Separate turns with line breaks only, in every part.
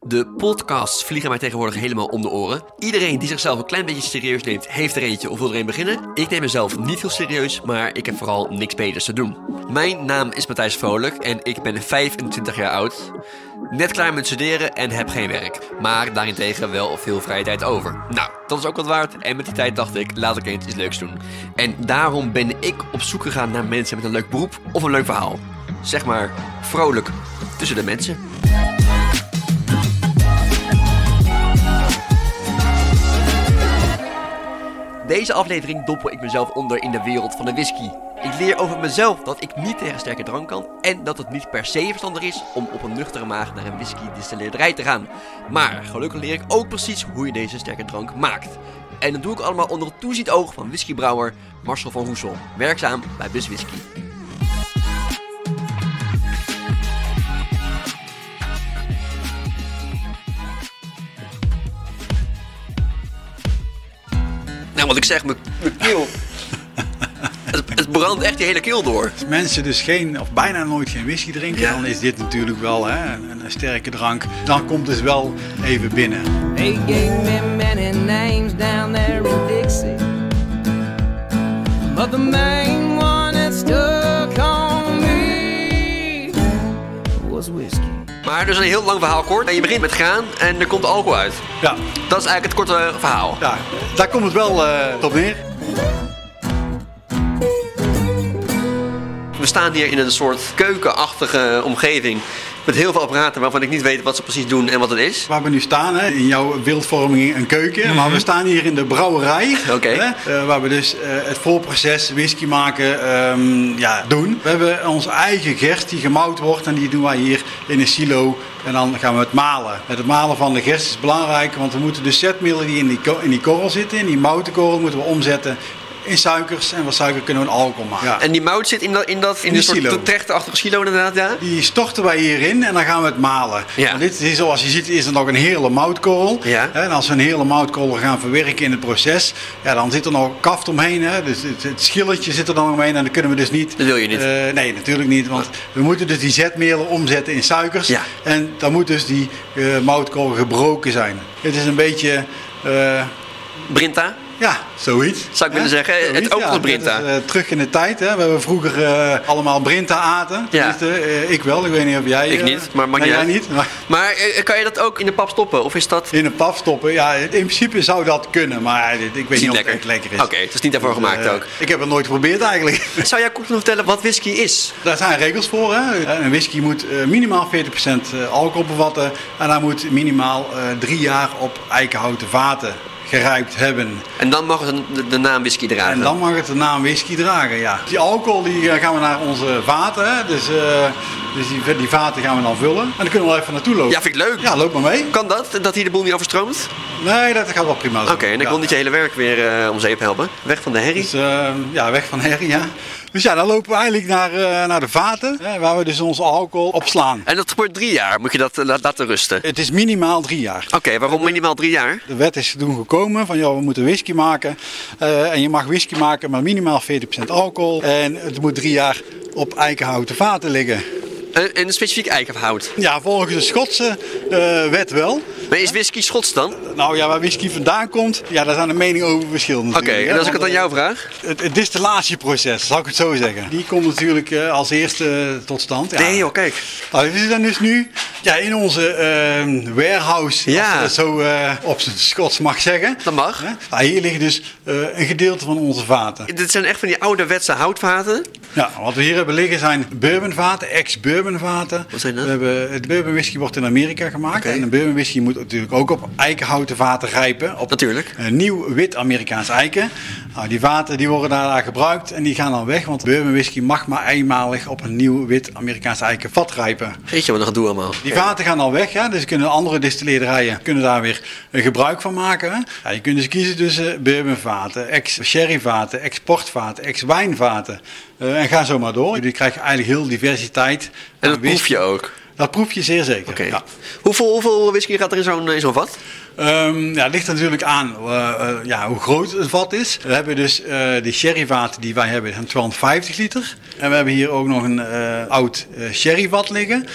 De podcasts vliegen mij tegenwoordig helemaal om de oren. Iedereen die zichzelf een klein beetje serieus neemt, heeft er eentje of wil er een beginnen. Ik neem mezelf niet heel serieus, maar ik heb vooral niks beters te doen. Mijn naam is Matthijs Vrolijk en ik ben 25 jaar oud. Net klaar met studeren en heb geen werk. Maar daarentegen wel veel vrije tijd over. Nou, dat is ook wat waard. En met die tijd dacht ik, laat ik eens iets leuks doen. En daarom ben ik op zoek gegaan naar mensen met een leuk beroep of een leuk verhaal. Zeg maar, vrolijk tussen de mensen. Deze aflevering dompel ik mezelf onder in de wereld van de whisky. Ik leer over mezelf dat ik niet tegen sterke drank kan en dat het niet per se verstandig is om op een nuchtere maag naar een whisky-distilleerderij te gaan. Maar gelukkig leer ik ook precies hoe je deze sterke drank maakt. En dat doe ik allemaal onder het toezicht oog van whiskybrouwer Marcel van Hoesel, werkzaam bij Bus Whisky. Nou, wat ik zeg, mijn mijn keel. het, het brandt echt die hele keel door.
Als mensen dus geen, of bijna nooit geen whisky drinken,
Ja.
dan is dit natuurlijk wel hè, een, een sterke drank. Dan komt het wel even binnen.
They gave me many names down there in Dixie. But the main one that stuck on me was whiskey.
Maar dus een heel lang verhaal kort. En je begint met graan en er komt alcohol uit.
Ja,
Dat is eigenlijk het korte verhaal.
ja daar komt het wel eh, op neer.
We staan hier in een soort keukenachtige omgeving. Met heel veel apparaten waarvan ik niet weet wat ze precies doen en wat het is.
Waar we nu staan, hè, in jouw wildvorming een keuken. Maar we staan hier in de brouwerij.
Oké.
hè, eh, waar we dus eh, het voorproces whisky maken ehm, ja, doen. We hebben onze eigen gerst die gemouwd wordt. En die doen wij hier in een silo. En dan gaan we het malen. Het malen van de gerst is belangrijk. Want we moeten de zetmiddelen die in die, ko- in die korrel zitten, in die moutenkorrel, moeten we omzetten in suikers. En van suiker kunnen we een alcohol maken. Ja.
En die mout zit in dat, in dat in
In
een
die silo.
soort trechterachtige silo inderdaad, ja.
Die storten wij hierin en dan gaan we het malen.
Ja.
Want dit is, zoals je ziet is er nog een hele moutkorrel.
Ja.
En als we een hele moutkorrel gaan verwerken in het proces, ja, dan zit er nog kaft omheen. Hè? Dus het, het schilletje zit er dan omheen en dat kunnen we dus niet.
Dat wil je niet.
Eh, nee, natuurlijk niet. Want we moeten dus die zetmelen omzetten in suikers.
Ja.
En dan moet dus die eh, moutkorrel gebroken zijn. Het is een beetje... eh,
Brinta.
ja, zoiets.
Zou ik willen
Hè?
zeggen, het
Zoiets,
oog van
dat
Brinta.
is, eh, terug in de tijd, hè. we hebben vroeger eh, allemaal Brinta aten.
Ja.
Tenminste, eh, ik wel, ik weet niet of jij...
Ik
eh,
niet, maar maakt
nee,
niet
jij
uit.
niet. Maar
Maar eh, kan je dat ook in de pap stoppen? Of is dat...
in een paf stoppen, ja, in principe zou dat kunnen, maar dit- ik weet
niet
niet of
lekker.
het echt lekker is.
Oké, het is niet daarvoor
Dus, eh,
gemaakt ook.
Ik heb het nooit geprobeerd eigenlijk.
Zou jij kort nog vertellen wat whisky is?
Daar zijn regels voor. Hè? Een whisky moet eh, minimaal 40% alcohol bevatten. En hij moet minimaal eh, drie jaar op eikenhouten vaten gerijpt hebben.
En dan mag het de, de naam whisky dragen.
En dan mag het de naam whisky dragen, ja. Die alcohol die eh, gaan we naar onze vaten, hè. Dus, eh, dus die, die vaten gaan we dan vullen. En dan kunnen we wel even naartoe lopen.
Ja, vind ik leuk.
Ja, loop maar mee.
Kan dat? Dat hier de boel niet overstroomt?
Nee, dat gaat wel prima.
Oké, en ik wil niet je
je.
hele werk weer eh, om zeep helpen. Weg van de herrie.
Dus eh, ja, weg van herrie, ja. Dus ja, dan lopen we eigenlijk naar, eh, naar de vaten, hè, waar we dus onze alcohol opslaan.
En dat gebeurt drie jaar. Moet je dat eh, la- laten rusten? Oké,
Het is minimaal drie jaar.
waarom minimaal drie jaar?
De wet is toen gekomen van ja, we moeten whisky maken. Eh, en je mag whisky maken met minimaal 40% alcohol. En het moet drie jaar op eikenhouten vaten liggen.
En, en Eh, een specifiek eikenhout.
Ja, volgens de Schotse eh, wet wel.
Maar is whisky Schots dan? Oké,
Nou ja, waar whisky vandaan komt, ja, daar zijn de meningen over verschillend. natuurlijk, hè.
en als ik het aan
Want,
jou vraag?
eh, Het, het distillatieproces, zal ik het zo zeggen. Die komt natuurlijk eh, als eerste tot stand. Ja.
Nee joh, kijk.
Nou, we zitten dus nu ja, in onze eh, warehouse,
Ja.
als je dat zo eh, op zijn Schots mag zeggen.
Dat mag.
Hè? Nou, hier liggen dus eh, een gedeelte van onze vaten.
Dit zijn echt van die ouderwetse houtvaten.
Ja, wat we hier hebben liggen zijn bourbonvaten, ex-bourbonvaten.
Wat zijn dat?
We hebben, het bourbon whisky wordt in Amerika gemaakt.
Oké.
En een bourbon whisky moet natuurlijk ook op eikenhouten vaten rijpen. Op
Natuurlijk.
Een nieuw wit Amerikaans eiken. Nou, die vaten die worden daarna gebruikt en die gaan dan weg. Want bourbon whisky mag maar eenmalig op een nieuw wit Amerikaans eiken vat rijpen.
Weet je wat een gedoe allemaal?
Die vaten gaan al weg, hè? dus kunnen andere distilleerderijen kunnen daar weer eh, gebruik van maken. Hè? Ja, je kunt dus kiezen tussen bourbonvaten, ex-sherryvaten, exportvaten, ex-wijnvaten. Eh, en ga zo maar door. Jullie krijgen eigenlijk heel diversiteit.
En dat
aan whisky.
proef je ook.
Dat proef je zeer zeker.
Oké.
Ja.
Hoeveel, hoeveel whisky gaat er in zo'n in zo'n vat?
Ehm, ja, het ligt er natuurlijk aan eh, eh, ja, hoe groot het vat is. We hebben dus eh de sherryvaten die wij hebben, zijn 250 liter. En we hebben hier ook nog een eh, oud eh sherryvat liggen.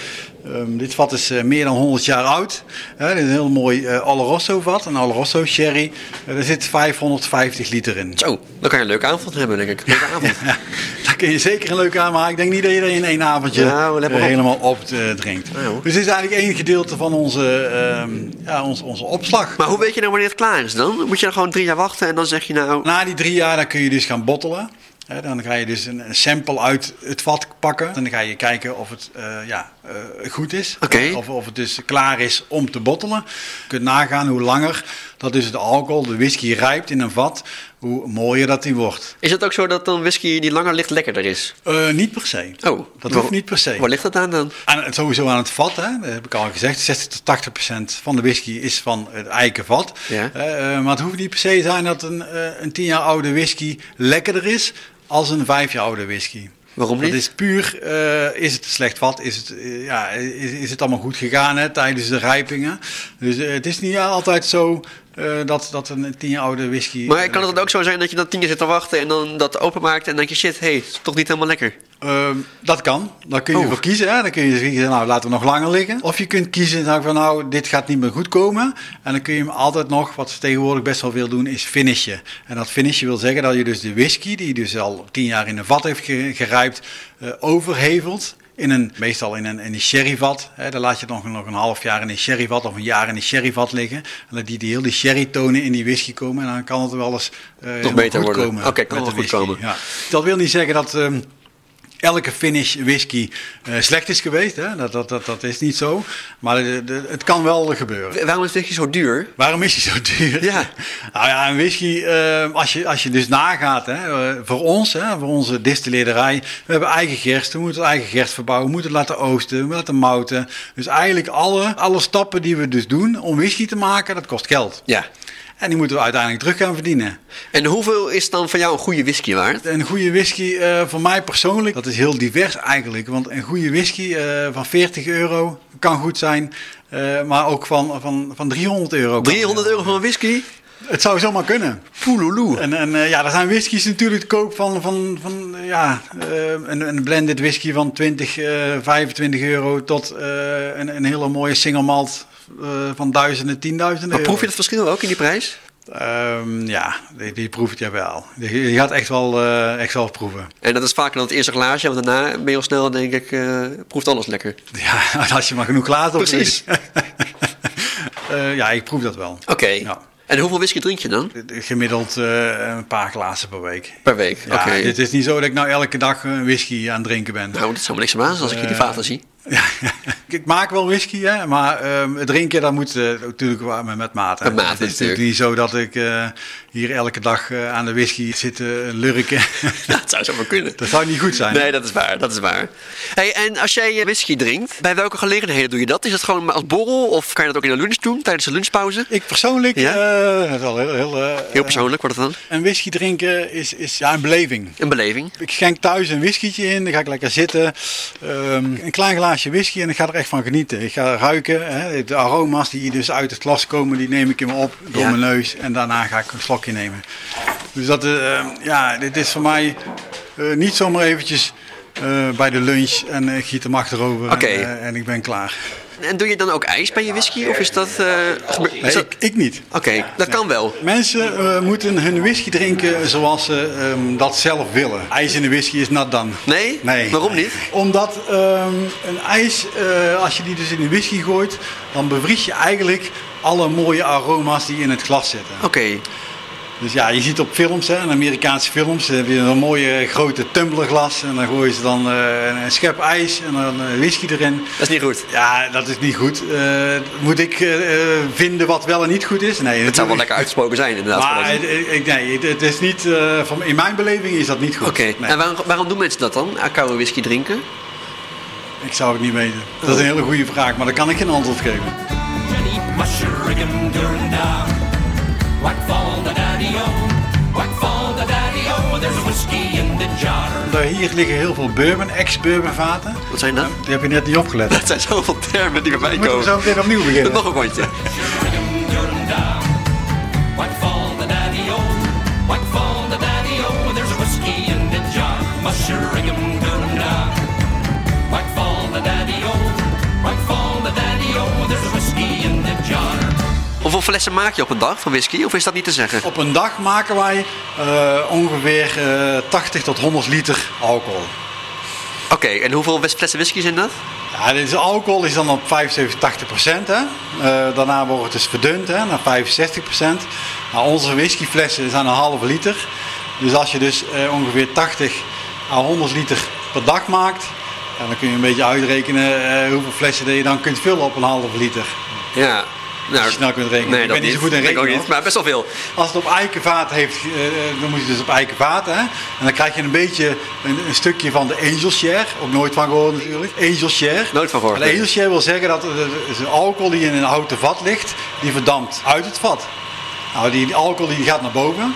Ehm, dit vat is eh, meer dan 100 jaar oud. Hè, dit is een heel mooi eh Oloroso vat, een Oloroso sherry. Eh, daar zit 550 liter in.
Zo, dan kan je een leuke avond hebben, denk ik. Een Leuke avond.
Ja, daar kun je zeker een leuke aan maken. Ik denk niet dat je dat in één avondje
Nou, let maar
eh,
op.
helemaal opdrinkt.
Ja, hoor.
dus dit is eigenlijk één gedeelte van onze, ehm, ja, onze, onze opslag.
Maar hoe weet je nou wanneer het klaar is dan? Moet je dan gewoon drie jaar wachten en dan zeg je nou...
Na die drie jaar dan kun je dus gaan bottelen. Hè, dan ga je dus een een sample uit het vat pakken. En dan ga je kijken of het eh, ja, eh, goed is.
Oké.
Of, of het dus klaar is om te bottelen. Je kunt nagaan hoe langer dat dus de alcohol, de whisky rijpt in een vat, hoe mooier dat die wordt.
Is het ook zo dat dan whisky die langer ligt lekkerder is?
Eh, niet per se.
Oh,
dat
waar-
hoeft niet per se.
Waar ligt dat aan dan?
Aan, het- sowieso aan het vat, hè, dat heb ik al gezegd. 60 tot 80 procent van de whisky is van het eikenvat.
Ja.
Eh, eh, maar het hoeft niet per se te zijn dat een, eh, een 10 jaar oude whisky lekkerder is als een 5 jaar oude whisky.
Waarom niet?
Dat is puur, eh, is het een slecht vat? Is het, eh, ja, is, is het allemaal goed gegaan hè, tijdens de rijpingen? Dus eh, het is niet altijd zo eh, dat, dat een 10 jaar oude whisky... eh,
Maar kan het dan ook zo zijn dat je dan tien keer zit te wachten en dan dat openmaakt en denk je shit, hé, hey, is toch niet helemaal lekker?
Ehm, dat kan. Daar kun je
Oh.
voor kiezen. Hè? Dan kun je zeggen, nou laten we nog langer liggen. Of je kunt kiezen nou, van nou, dit gaat niet meer goed komen. En dan kun je hem altijd nog, wat ze tegenwoordig best wel veel doen, is finishen. En dat finishen wil zeggen dat je dus de whisky, die dus al tien jaar in een vat heeft ge- gerijpt, eh, overhevelt. In een, meestal in een, in een sherryvat. Hè, dan laat je het nog, nog een half jaar in een sherryvat of een jaar in een sherryvat liggen. En dat die, die heel die sherrytonen in die whisky komen. En dan kan het wel eens eh, helemaal
beter
goed
worden.
komen.
Oké, kan
met
wel
de
goed
whisky.
komen.
Ja. Dat wil niet zeggen dat ehm, elke finish whisky eh, slecht is geweest. Hè? Dat, dat, dat, dat is niet zo. Maar de- de- het kan wel gebeuren.
Wa- Waarom is whisky zo duur?
Waarom is hij zo duur?
Ja.
Nou ja, een whisky, ehm, als, je, als je dus nagaat, hè, eh, voor ons, hè, voor onze distilleerderij, we hebben eigen gerst, we moeten eigen gerst verbouwen, we moeten het laten oosten, we moeten het laten mouten. Dus eigenlijk alle, alle stappen die we dus doen om whisky te maken, dat kost geld.
Ja.
En die moeten we uiteindelijk terug gaan verdienen.
En hoeveel is dan van jou een goede whisky waard?
Een goede whisky eh, voor mij persoonlijk, dat is heel divers eigenlijk. Want een goede whisky eh, van 40 euro kan goed zijn, eh, maar ook van, van, van 300 euro. kan-
300 euro voor een whisky?
Het zou zomaar kunnen.
Poeloeloe.
En, en eh, ja, er zijn whiskies natuurlijk te koop van, van, van eh, ja, eh, een, een blended whisky van 20, eh, 25 euro tot eh, een, een hele mooie single malt eh, van duizenden, tienduizenden
Maar
euro.
proef je dat verschil ook in die prijs?
Ehm, ja, die, die proef je wel. Die, die gaat echt wel, eh, echt wel proeven.
En dat is vaker dan het eerste glaasje, want daarna ben je al snel, denk ik, eh, proeft alles lekker.
Ja, als je maar genoeg laat op
Precies.
Eh, ja, ik proef dat wel.
Oké.
Ja.
En hoeveel whisky drink je dan?
Gemiddeld eh, een paar glazen per week.
Per week.
Ja,
Oké.
Dit is niet zo dat ik nou elke dag een whisky aan het drinken ben.
Nou, dat zou me niks verbazen als ik je
Eh.
die vaten zie.
Ja, ik maak wel whisky, hè, maar ehm, het drinken dat moet eh, natuurlijk wel met, met mate.
Met mate,
het is
natuurlijk.
natuurlijk niet zo dat ik eh, hier elke dag eh, aan de whisky zit te lurken.
dat zou zomaar kunnen.
dat zou niet goed zijn.
Nee, dat is waar, dat is waar. Hey, en als jij eh, whisky drinkt, bij welke gelegenheden doe je dat? Is dat gewoon als borrel of kan je dat ook in de lunch doen, tijdens de lunchpauze?
Ik persoonlijk,
Ja?
eh, dat is wel heel... heel, eh,
Heel persoonlijk wordt het dan.
eh, een whisky drinken is, is ja, een beleving.
Een beleving.
Ik schenk thuis een whiskietje in, dan ga ik lekker zitten. Ehm, een klein glaasje whisky en ik ga er echt van genieten. Ik ga ruiken. Hè, de aroma's die hier dus uit het glas komen, die neem ik in me op door
Ja.
mijn neus. En daarna ga ik een slokje nemen. Dus dat, eh, ehm, ja, dit is voor mij eh, niet zomaar eventjes eh, bij de lunch en ik giet hem achterover
Oké.
en, eh, en ik ben klaar.
En doe je dan ook ijs bij je whisky? Of is dat... eh, gebe- is
Nee,
dat-
ik, ik niet.
Oké, dat kan wel.
Mensen eh, moeten hun whisky drinken zoals ze ehm, dat zelf willen. IJs in de whisky is nat dan.
Nee?
Nee.
Waarom niet?
Omdat ehm, een ijs, eh, als je die dus in de whisky gooit, dan bevries je eigenlijk alle mooie aroma's die in het glas zitten.
Oké,
Dus ja, je ziet op films, hè, in Amerikaanse films, eh, heb je een mooie grote tumblerglas en dan gooien ze dan eh, een- een schep ijs en dan eh, whisky erin.
dat is niet goed.
Ja, dat is niet goed. Eh, moet ik eh, eh, vinden wat wel en niet goed is?
Het
Nee,
zou wel
natuurlijk-
lekker uitgesproken zijn, inderdaad.
maar
voor
het,
dat.
ik, nee, het, het is niet, eh, van, in mijn beleving is dat niet goed.
Oké,
Nee,
en waarom, waarom doen mensen dat dan? Eh, Koude whisky drinken?
ik zou het niet weten. Dat is een hele goede vraag, maar daar kan ik geen antwoord geven.
Jenny Mushroom Duranda. Whack fall the daddy o, whack fall the daddy o. There's a whiskey in the jar.
Daar- Hier liggen heel veel bourbon, ex-bourbonvaten.
Wat zijn dat?
Die heb je net niet opgelet.
Dat zijn zoveel termen die bij mij
Moeten we
komen.
zo meteen opnieuw beginnen?
Nog een rondje.
Duranda. Whack fall the daddy o, whack fall the daddy o. There's a whiskey in the jar. Mushroom Duranda. Whack oh. fall the daddy oh. o, whack
Hoeveel flessen maak je op een dag van whisky? Of is dat niet te zeggen?
Op een dag maken wij eh, ongeveer eh, 80 tot 100 liter alcohol.
Oké, en hoeveel wes- flessen whisky zijn dat?
Ja, dit is alcohol is dan op 75, 80 procent. Hè? Eh, daarna wordt het dus verdund hè, naar 65 procent. Nou, onze whiskyflessen zijn een halve liter. Dus als je dus eh, ongeveer 80 à 100 liter per dag maakt, ja, dan kun je een beetje uitrekenen eh, hoeveel flessen dat je dan kunt vullen op een halve liter.
Ja. Nou,
je snel kunt rekenen.
Nee,
Ik
dat
ben niet zo goed in
Ik ook
rekenen,
niet, maar best wel veel.
Als het op eikenvaat heeft, eh, dan moet je dus op eikenvaat. Hè? En dan krijg je een beetje een, een stukje van de angel share. Ook nooit van gehoord natuurlijk. Angel share.
Nooit van gehoord,
De
nee.
angel share wil zeggen dat het- het is een alcohol die in een houten vat ligt, die verdampt uit het vat. Nou, die alcohol die gaat naar boven.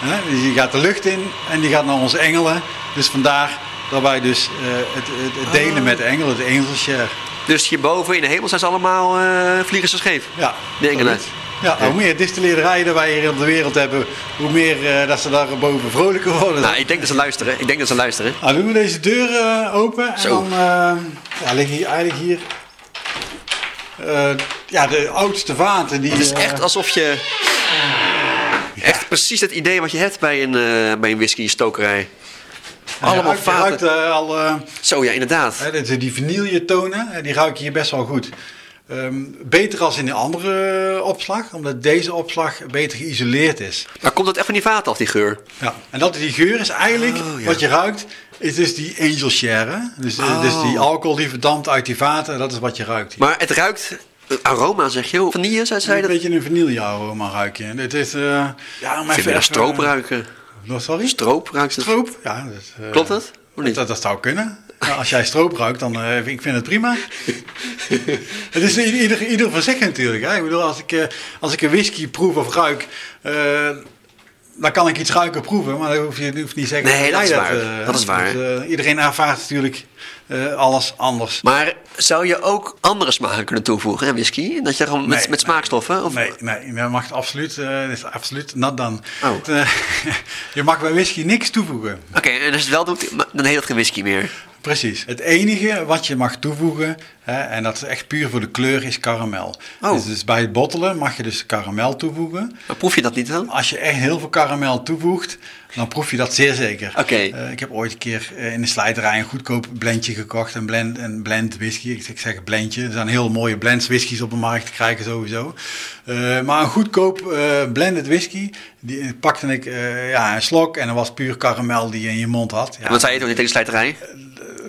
Hè? Dus die gaat de lucht in en die gaat naar onze engelen. Dus vandaar dat wij dus eh, het, het, het delen met de engelen, de angel share.
Dus hierboven in de hemel zijn ze allemaal eh vliegers scheef.
Ja,
De engelen.
zoiets. Ja, hoe meer distilleerderijen wij hier op de wereld hebben, hoe meer eh, dat ze daar boven vrolijker worden.
Nou, ik denk dat ze luisteren. Ik denk dat ze luisteren.
Nou, doen we deze deur eh, open en
Zo.
dan eh, ja, liggen hier eigenlijk hier eh, ja, de oudste vaten. Die,
Het is
eh,
echt alsof je... Echt precies het idee wat je hebt bij een, eh, bij een whisky-stokerij. Allemaal
ruikt- ruikt,
vaten.
eh, al, eh,
Zo, ja, inderdaad.
hè, dit- die vanille tonen, eh, die ruik je hier best wel goed. Ehm, beter als in de andere eh, opslag, omdat deze opslag beter geïsoleerd is.
Maar komt dat echt van die vaten af, die geur?
Ja, en dat die geur is eigenlijk,
Oh, ja.
wat je ruikt, is dus die angel share. hè? Dus, eh, dus die alcohol die verdampt uit die vaten, dat is wat je ruikt. hier.
Oh. Maar het ruikt... eh, Aroma, zeg je? Vanille, zei zei
een
dat? Ik
beetje een vanille aroma ruik je. En Het is, eh, ja, maar eh,
vind meer naar stroop ruiken.
ruikt. Sorry?
Stroop ruikt het.
Stroop? Ja, dat, is, eh,
Dus- Klopt het? Of niet?
Dat, dat zou kunnen. Ja, als jij stroop ruikt, dan eh, vind ik vind het prima. het is i- ieder, ieder voor zich natuurlijk. Hè? Ik bedoel, als ik, eh, als ik een whisky proef of ruik, eh, dan kan ik iets ruiken proeven. Maar dan hoef je hoeft niet zeggen
Nee, dat
jij
is waar.
eh,
Dat is waar.
want, eh, iedereen ervaart natuurlijk eh, alles anders.
Maar zou je ook andere smaken kunnen toevoegen aan whisky? Dat je gewoon met,
Nee,
met smaakstoffen? Of...
Nee, nee, dat mag absoluut, eh, dat is absoluut nat dan. eh,
Oh.
je mag bij whisky niks toevoegen.
Oké, en als je het wel doet, ma- dan heet dat geen whisky meer.
Precies. Het enige wat je mag toevoegen, hè, en dat is echt puur voor de kleur, is karamel.
Oh.
Dus, dus bij het bottelen mag je dus karamel toevoegen.
Maar proef je dat niet dan?
Als je echt heel veel karamel toevoegt, dan proef je dat zeer zeker.
Oké.
Eh, ik heb ooit een keer eh, in de slijterij een goedkoop blendje gekocht. Een blend, een blend whisky. Ik zeg, ik zeg blendje. Er zijn heel mooie blends whiskies op de markt te krijgen sowieso. Eh, maar een goedkoop eh, blended whisky, die eh, pakte ik eh, ja, een slok en dat was puur karamel die je in je mond had. Ja.
Want zij heet ook niet tegen de slijterij?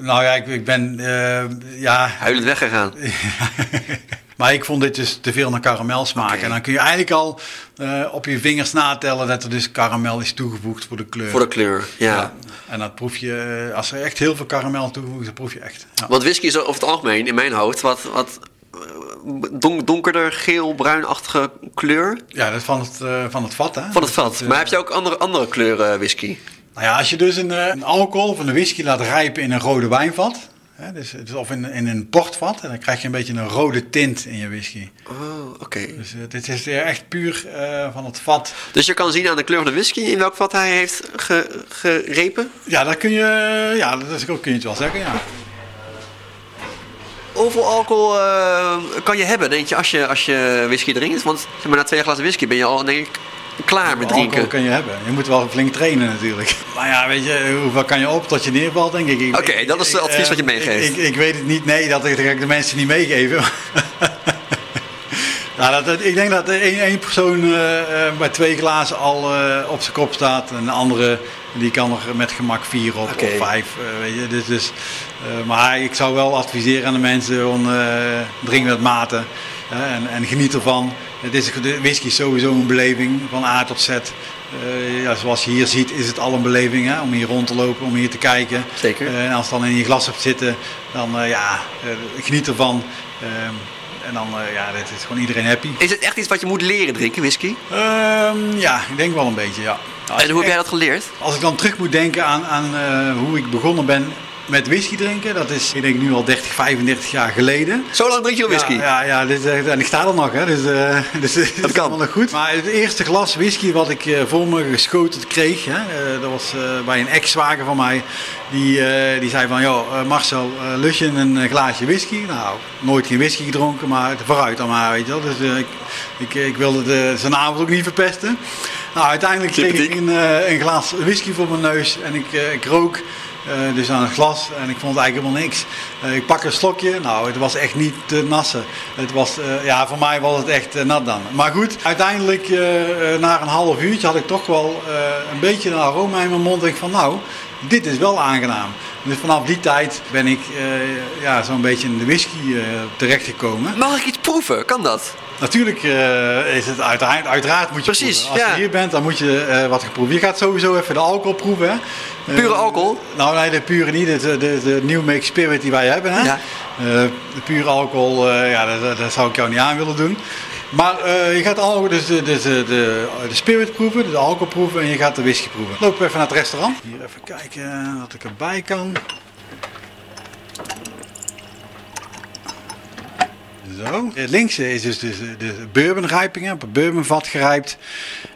Nou ja, ik, ik ben... eh, ja,
Huilend weggegaan.
maar ik vond dit dus te veel naar karamel smaken.
Oké.
En dan kun je eigenlijk al eh, op je vingers natellen dat er dus karamel is toegevoegd voor de kleur.
Voor de kleur, ja.
En dat proef je, eh, als er echt heel veel karamel toegevoegd is, dan proef je echt. Ja.
Want whisky is over het algemeen, in mijn hoofd, wat, wat eh, don- donkerder geel-bruinachtige kleur
Ja, dat is van het, eh, van het vat, hè?
van het vat.
eh,
Maar heb je ook andere, andere kleuren whisky?
Nou ja, als je dus een, eh, een alcohol of een whisky laat rijpen in een rode wijnvat, hè, dus, dus of in, in een portvat, en dan krijg je een beetje een rode tint in je whisky.
Oh, oké.
Dus eh, dit is echt puur eh, van het vat.
Dus je kan zien aan de kleur van de whisky in welk vat hij heeft ge- gerepen?
Ja, dat kun je, ja, dat is, kun je het wel zeggen, ja.
Hoeveel alcohol eh, kan je hebben, denk je, als je, als je whisky drinkt? Want zeg maar, na twee glazen whisky ben je al, denk ik, klaar met drinken.
Alcohol kan je hebben. Je moet wel flink trainen natuurlijk. Maar ja, weet je, hoeveel kan je op tot je neervalt, denk ik. Ik-
Oké,
ik-
dat is
ik-
het advies
eh,
wat je meegeeft.
Ik, ik, ik weet het niet. Nee, dat ga ik de mensen niet meegeven. nou, dat, dat- ik denk dat één, één persoon eh, eh, bij twee glazen al eh, op zijn kop staat. En de andere, die kan er met gemak vier op
Oké.
of vijf. eh, weet je. Dus, dus, eh, maar ik zou wel adviseren aan de mensen, om, eh, drink met mate. hè, en, en geniet ervan. Het is, de whisky is sowieso een beleving, van A tot Z. Eh, ja, zoals je hier ziet is het al een beleving hè, om hier rond te lopen, om hier te kijken.
Zeker.
Eh, en als het dan in je glas hebt zitten, dan eh, ja, eh, geniet ervan. Ehm, en dan eh, ja, dit is gewoon iedereen happy.
Is het echt iets wat je moet leren drinken, whisky?
Ehm, ja, ik denk wel een beetje, ja. Als
En hoe heb jij
ik-
dat geleerd?
Als ik dan terug moet denken aan, aan eh, hoe ik begonnen ben met whisky drinken, dat is ik denk nu al 30, 35 jaar geleden.
Zo lang drink je al whisky?
Ja, ja, ja, dit is echt- en ik sta er nog, hè, dus, eh dus het is
kan.
allemaal nog goed. Maar het eerste glas whisky wat ik eh, voor me geschoten kreeg, hè, eh, dat was eh, bij een ex-zwager van mij. Die, eh, die zei van, joh, eh, Marcel, eh, lust je een eh, glaasje whisky? Nou, nooit geen whisky gedronken, maar vooruit dan maar, weet je wel. Dus eh, ik, Ik, ik wilde de, zijn avond ook niet verpesten. Nou, uiteindelijk kreeg ik
Sympathiek.
een, eh, een glas whisky voor mijn neus en ik, eh, ik rook. eh, dus aan het glas en ik vond het eigenlijk helemaal niks. Eh, ik pak een slokje, nou het was echt niet te nassen. Het was, eh, ja, voor mij was het echt eh, nat dan. Maar goed, uiteindelijk eh, eh, na een half uurtje had ik toch wel eh, een beetje een aroma in mijn mond. En ik van nou, dit is wel aangenaam. Dus vanaf die tijd ben ik eh, ja, zo'n beetje in de whisky eh, terechtgekomen.
Mag ik iets proeven? Kan dat?
Natuurlijk eh, is het uiteraard, uiteraard moet je
Precies,
proeven. Als
ja.
je hier bent, dan moet je eh, wat gaan proeven. Je gaat sowieso even de alcohol proeven. Hè? Eh,
Pure alcohol?
nou, nee, de pure niet. De, de, de New Make Spirit die wij hebben. Hè?
Ja.
Eh, de pure alcohol, eh, ja, dat, dat- dat zou ik jou niet aan willen doen. Maar eh, je gaat alcohol, dus de, dus de, de, de spirit proeven, de alcohol proeven en je gaat de whisky proeven. Loop even naar het restaurant. Hier even kijken wat ik erbij kan. Zo. Eh, Links is dus de, de bourbonrijping, hè, op een bourbonvat gerijpt.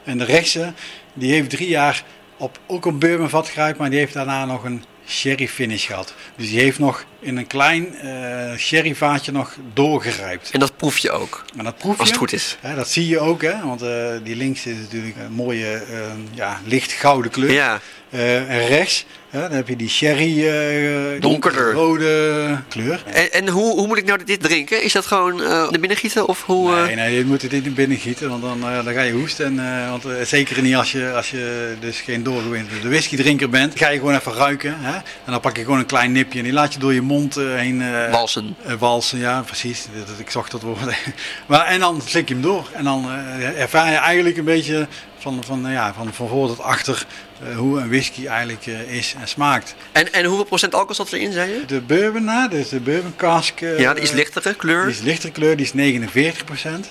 En de rechtse, die heeft drie jaar op ook een bourbonvat gerijpt, maar die heeft daarna nog een sherry finish gehad. Dus die heeft nog in een klein eh sherryvaatje nog doorgerijpt.
En dat proef je ook.
Maar dat proef je.
Als het goed is.
Hè, dat zie je ook, hè? want eh, die links is natuurlijk een mooie eh, ja, licht gouden kleur.
Ja.
Eh, en rechts, hè, dan heb je die sherry eh,
Donkerder.
rode kleur.
En, en hoe, hoe moet ik nou dit drinken? Is dat gewoon eh naar binnen gieten? Of hoe, eh,
Nee, nee, je moet het niet naar binnen gieten, want dan, eh, dan ga je hoesten. En, eh, want, eh, zeker niet als je, als je dus geen doorgewinterde whiskydrinker bent. Ga je gewoon even ruiken. Hè? En dan pak je gewoon een klein nipje en die laat je door je mond eh, heen... eh,
Walsen.
eh, walsen, ja, precies. Dat- dat- Ik zocht dat woord. maar, en dan slik je hem door. En dan eh, ervaar je eigenlijk een beetje van, van, eh, ja, van, van voor tot achter eh, hoe een whisky eigenlijk eh, is en smaakt.
En, en hoeveel procent alcohol zat erin, zei je?
De bourbon, hè, dus de bourbon cask... eh,
Ja, die is lichtere kleur.
Die is lichter kleur, die is 49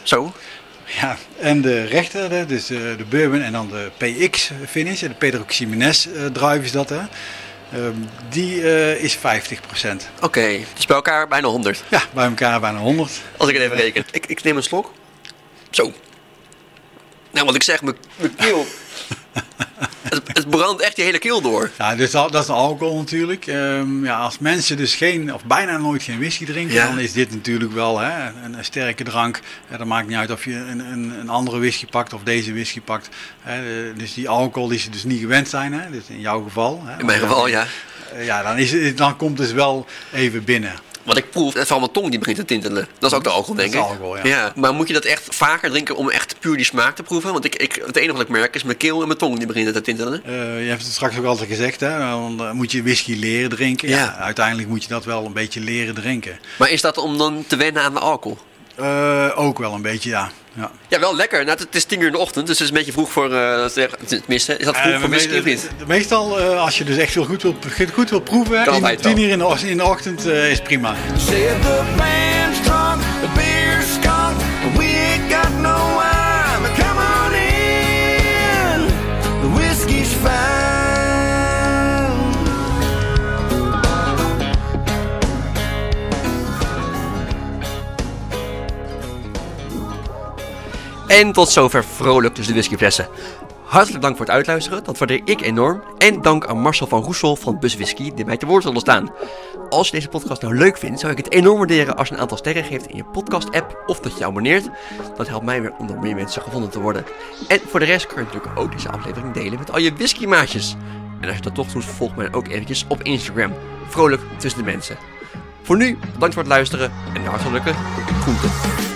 Zo.
Ja, en de rechter, hè, dus eh, de bourbon en dan de PX finish, de Pedro Ximenez eh, druif is dat hè. Ehm, die eh, is 50
Oké, dus bij elkaar bijna 100.
Ja, bij elkaar bijna 100.
Als ik het even reken. Ik, ik neem een slok. Zo. Nou, wat ik zeg, mijn mijn keel. het, het brandt echt die hele keel door.
Ja, dus al- dat is de alcohol natuurlijk. Ehm, ja, als mensen dus geen, of bijna nooit geen whisky drinken,
Ja.
dan is dit natuurlijk wel hè, een, een sterke drank. Eh, dat maakt niet uit of je een, een, een andere whisky pakt of deze whisky pakt. Hè, eh, dus die alcohol die ze dus niet gewend zijn, hè, dus in jouw geval. Hè,
In mijn geval, ja.
Eh, ja, dan, is, het- dan komt het wel even binnen.
Wat ik proef, het van mijn tong die begint te tintelen. Dat is ook de alcohol,
Dat
denk
is
ik.
alcohol, ja.
Maar moet je dat echt vaker drinken om echt puur die smaak te proeven? Want ik, ik, het enige wat ik merk is mijn keel en mijn tong die beginnen te tintelen.
Eh, je hebt het straks ook altijd gezegd, hè? Dan eh, moet je whisky leren drinken. Ja.
Ja.
uiteindelijk moet je dat wel een beetje leren drinken.
Maar is dat om dan te wennen aan de alcohol?
Eh, ook wel een beetje, ja. ja.
Ja, wel lekker. Nou, het- het is tien uur in de ochtend, dus het is een beetje vroeg voor... eh, zeg- tenminste, is dat vroeg
Eh,
voor
me-
whisky of niet?
me- Meestal, eh, als je dus echt heel goed wil, goed wil proeven,
Kan
tien-
altijd
tien
wel.
uur in de, och- in de ochtend eh, is prima.
Said the band's drunk, the beer's skunk, and we ain't got no wine. But come on in, the whiskey's fine.
En tot zover vrolijk tussen de whiskyflessen. Hartelijk dank voor het uitluisteren, dat waardeer ik enorm. En dank aan Marcel van Roesel van Bus Whisky, die mij te woord wilde staan. Als je deze podcast nou leuk vindt, zou ik het enorm waarderen als je een aantal sterren geeft in je podcast-app of dat je je abonneert. Dat helpt mij weer om door meer mensen gevonden te worden. En voor de rest kun je natuurlijk ook deze aflevering delen met al je whiskymaatjes. En als je dat toch doet, volg mij dan ook eventjes op Instagram. Vrolijk tussen de mensen. Voor nu, bedankt voor het luisteren en hartelijke groeten.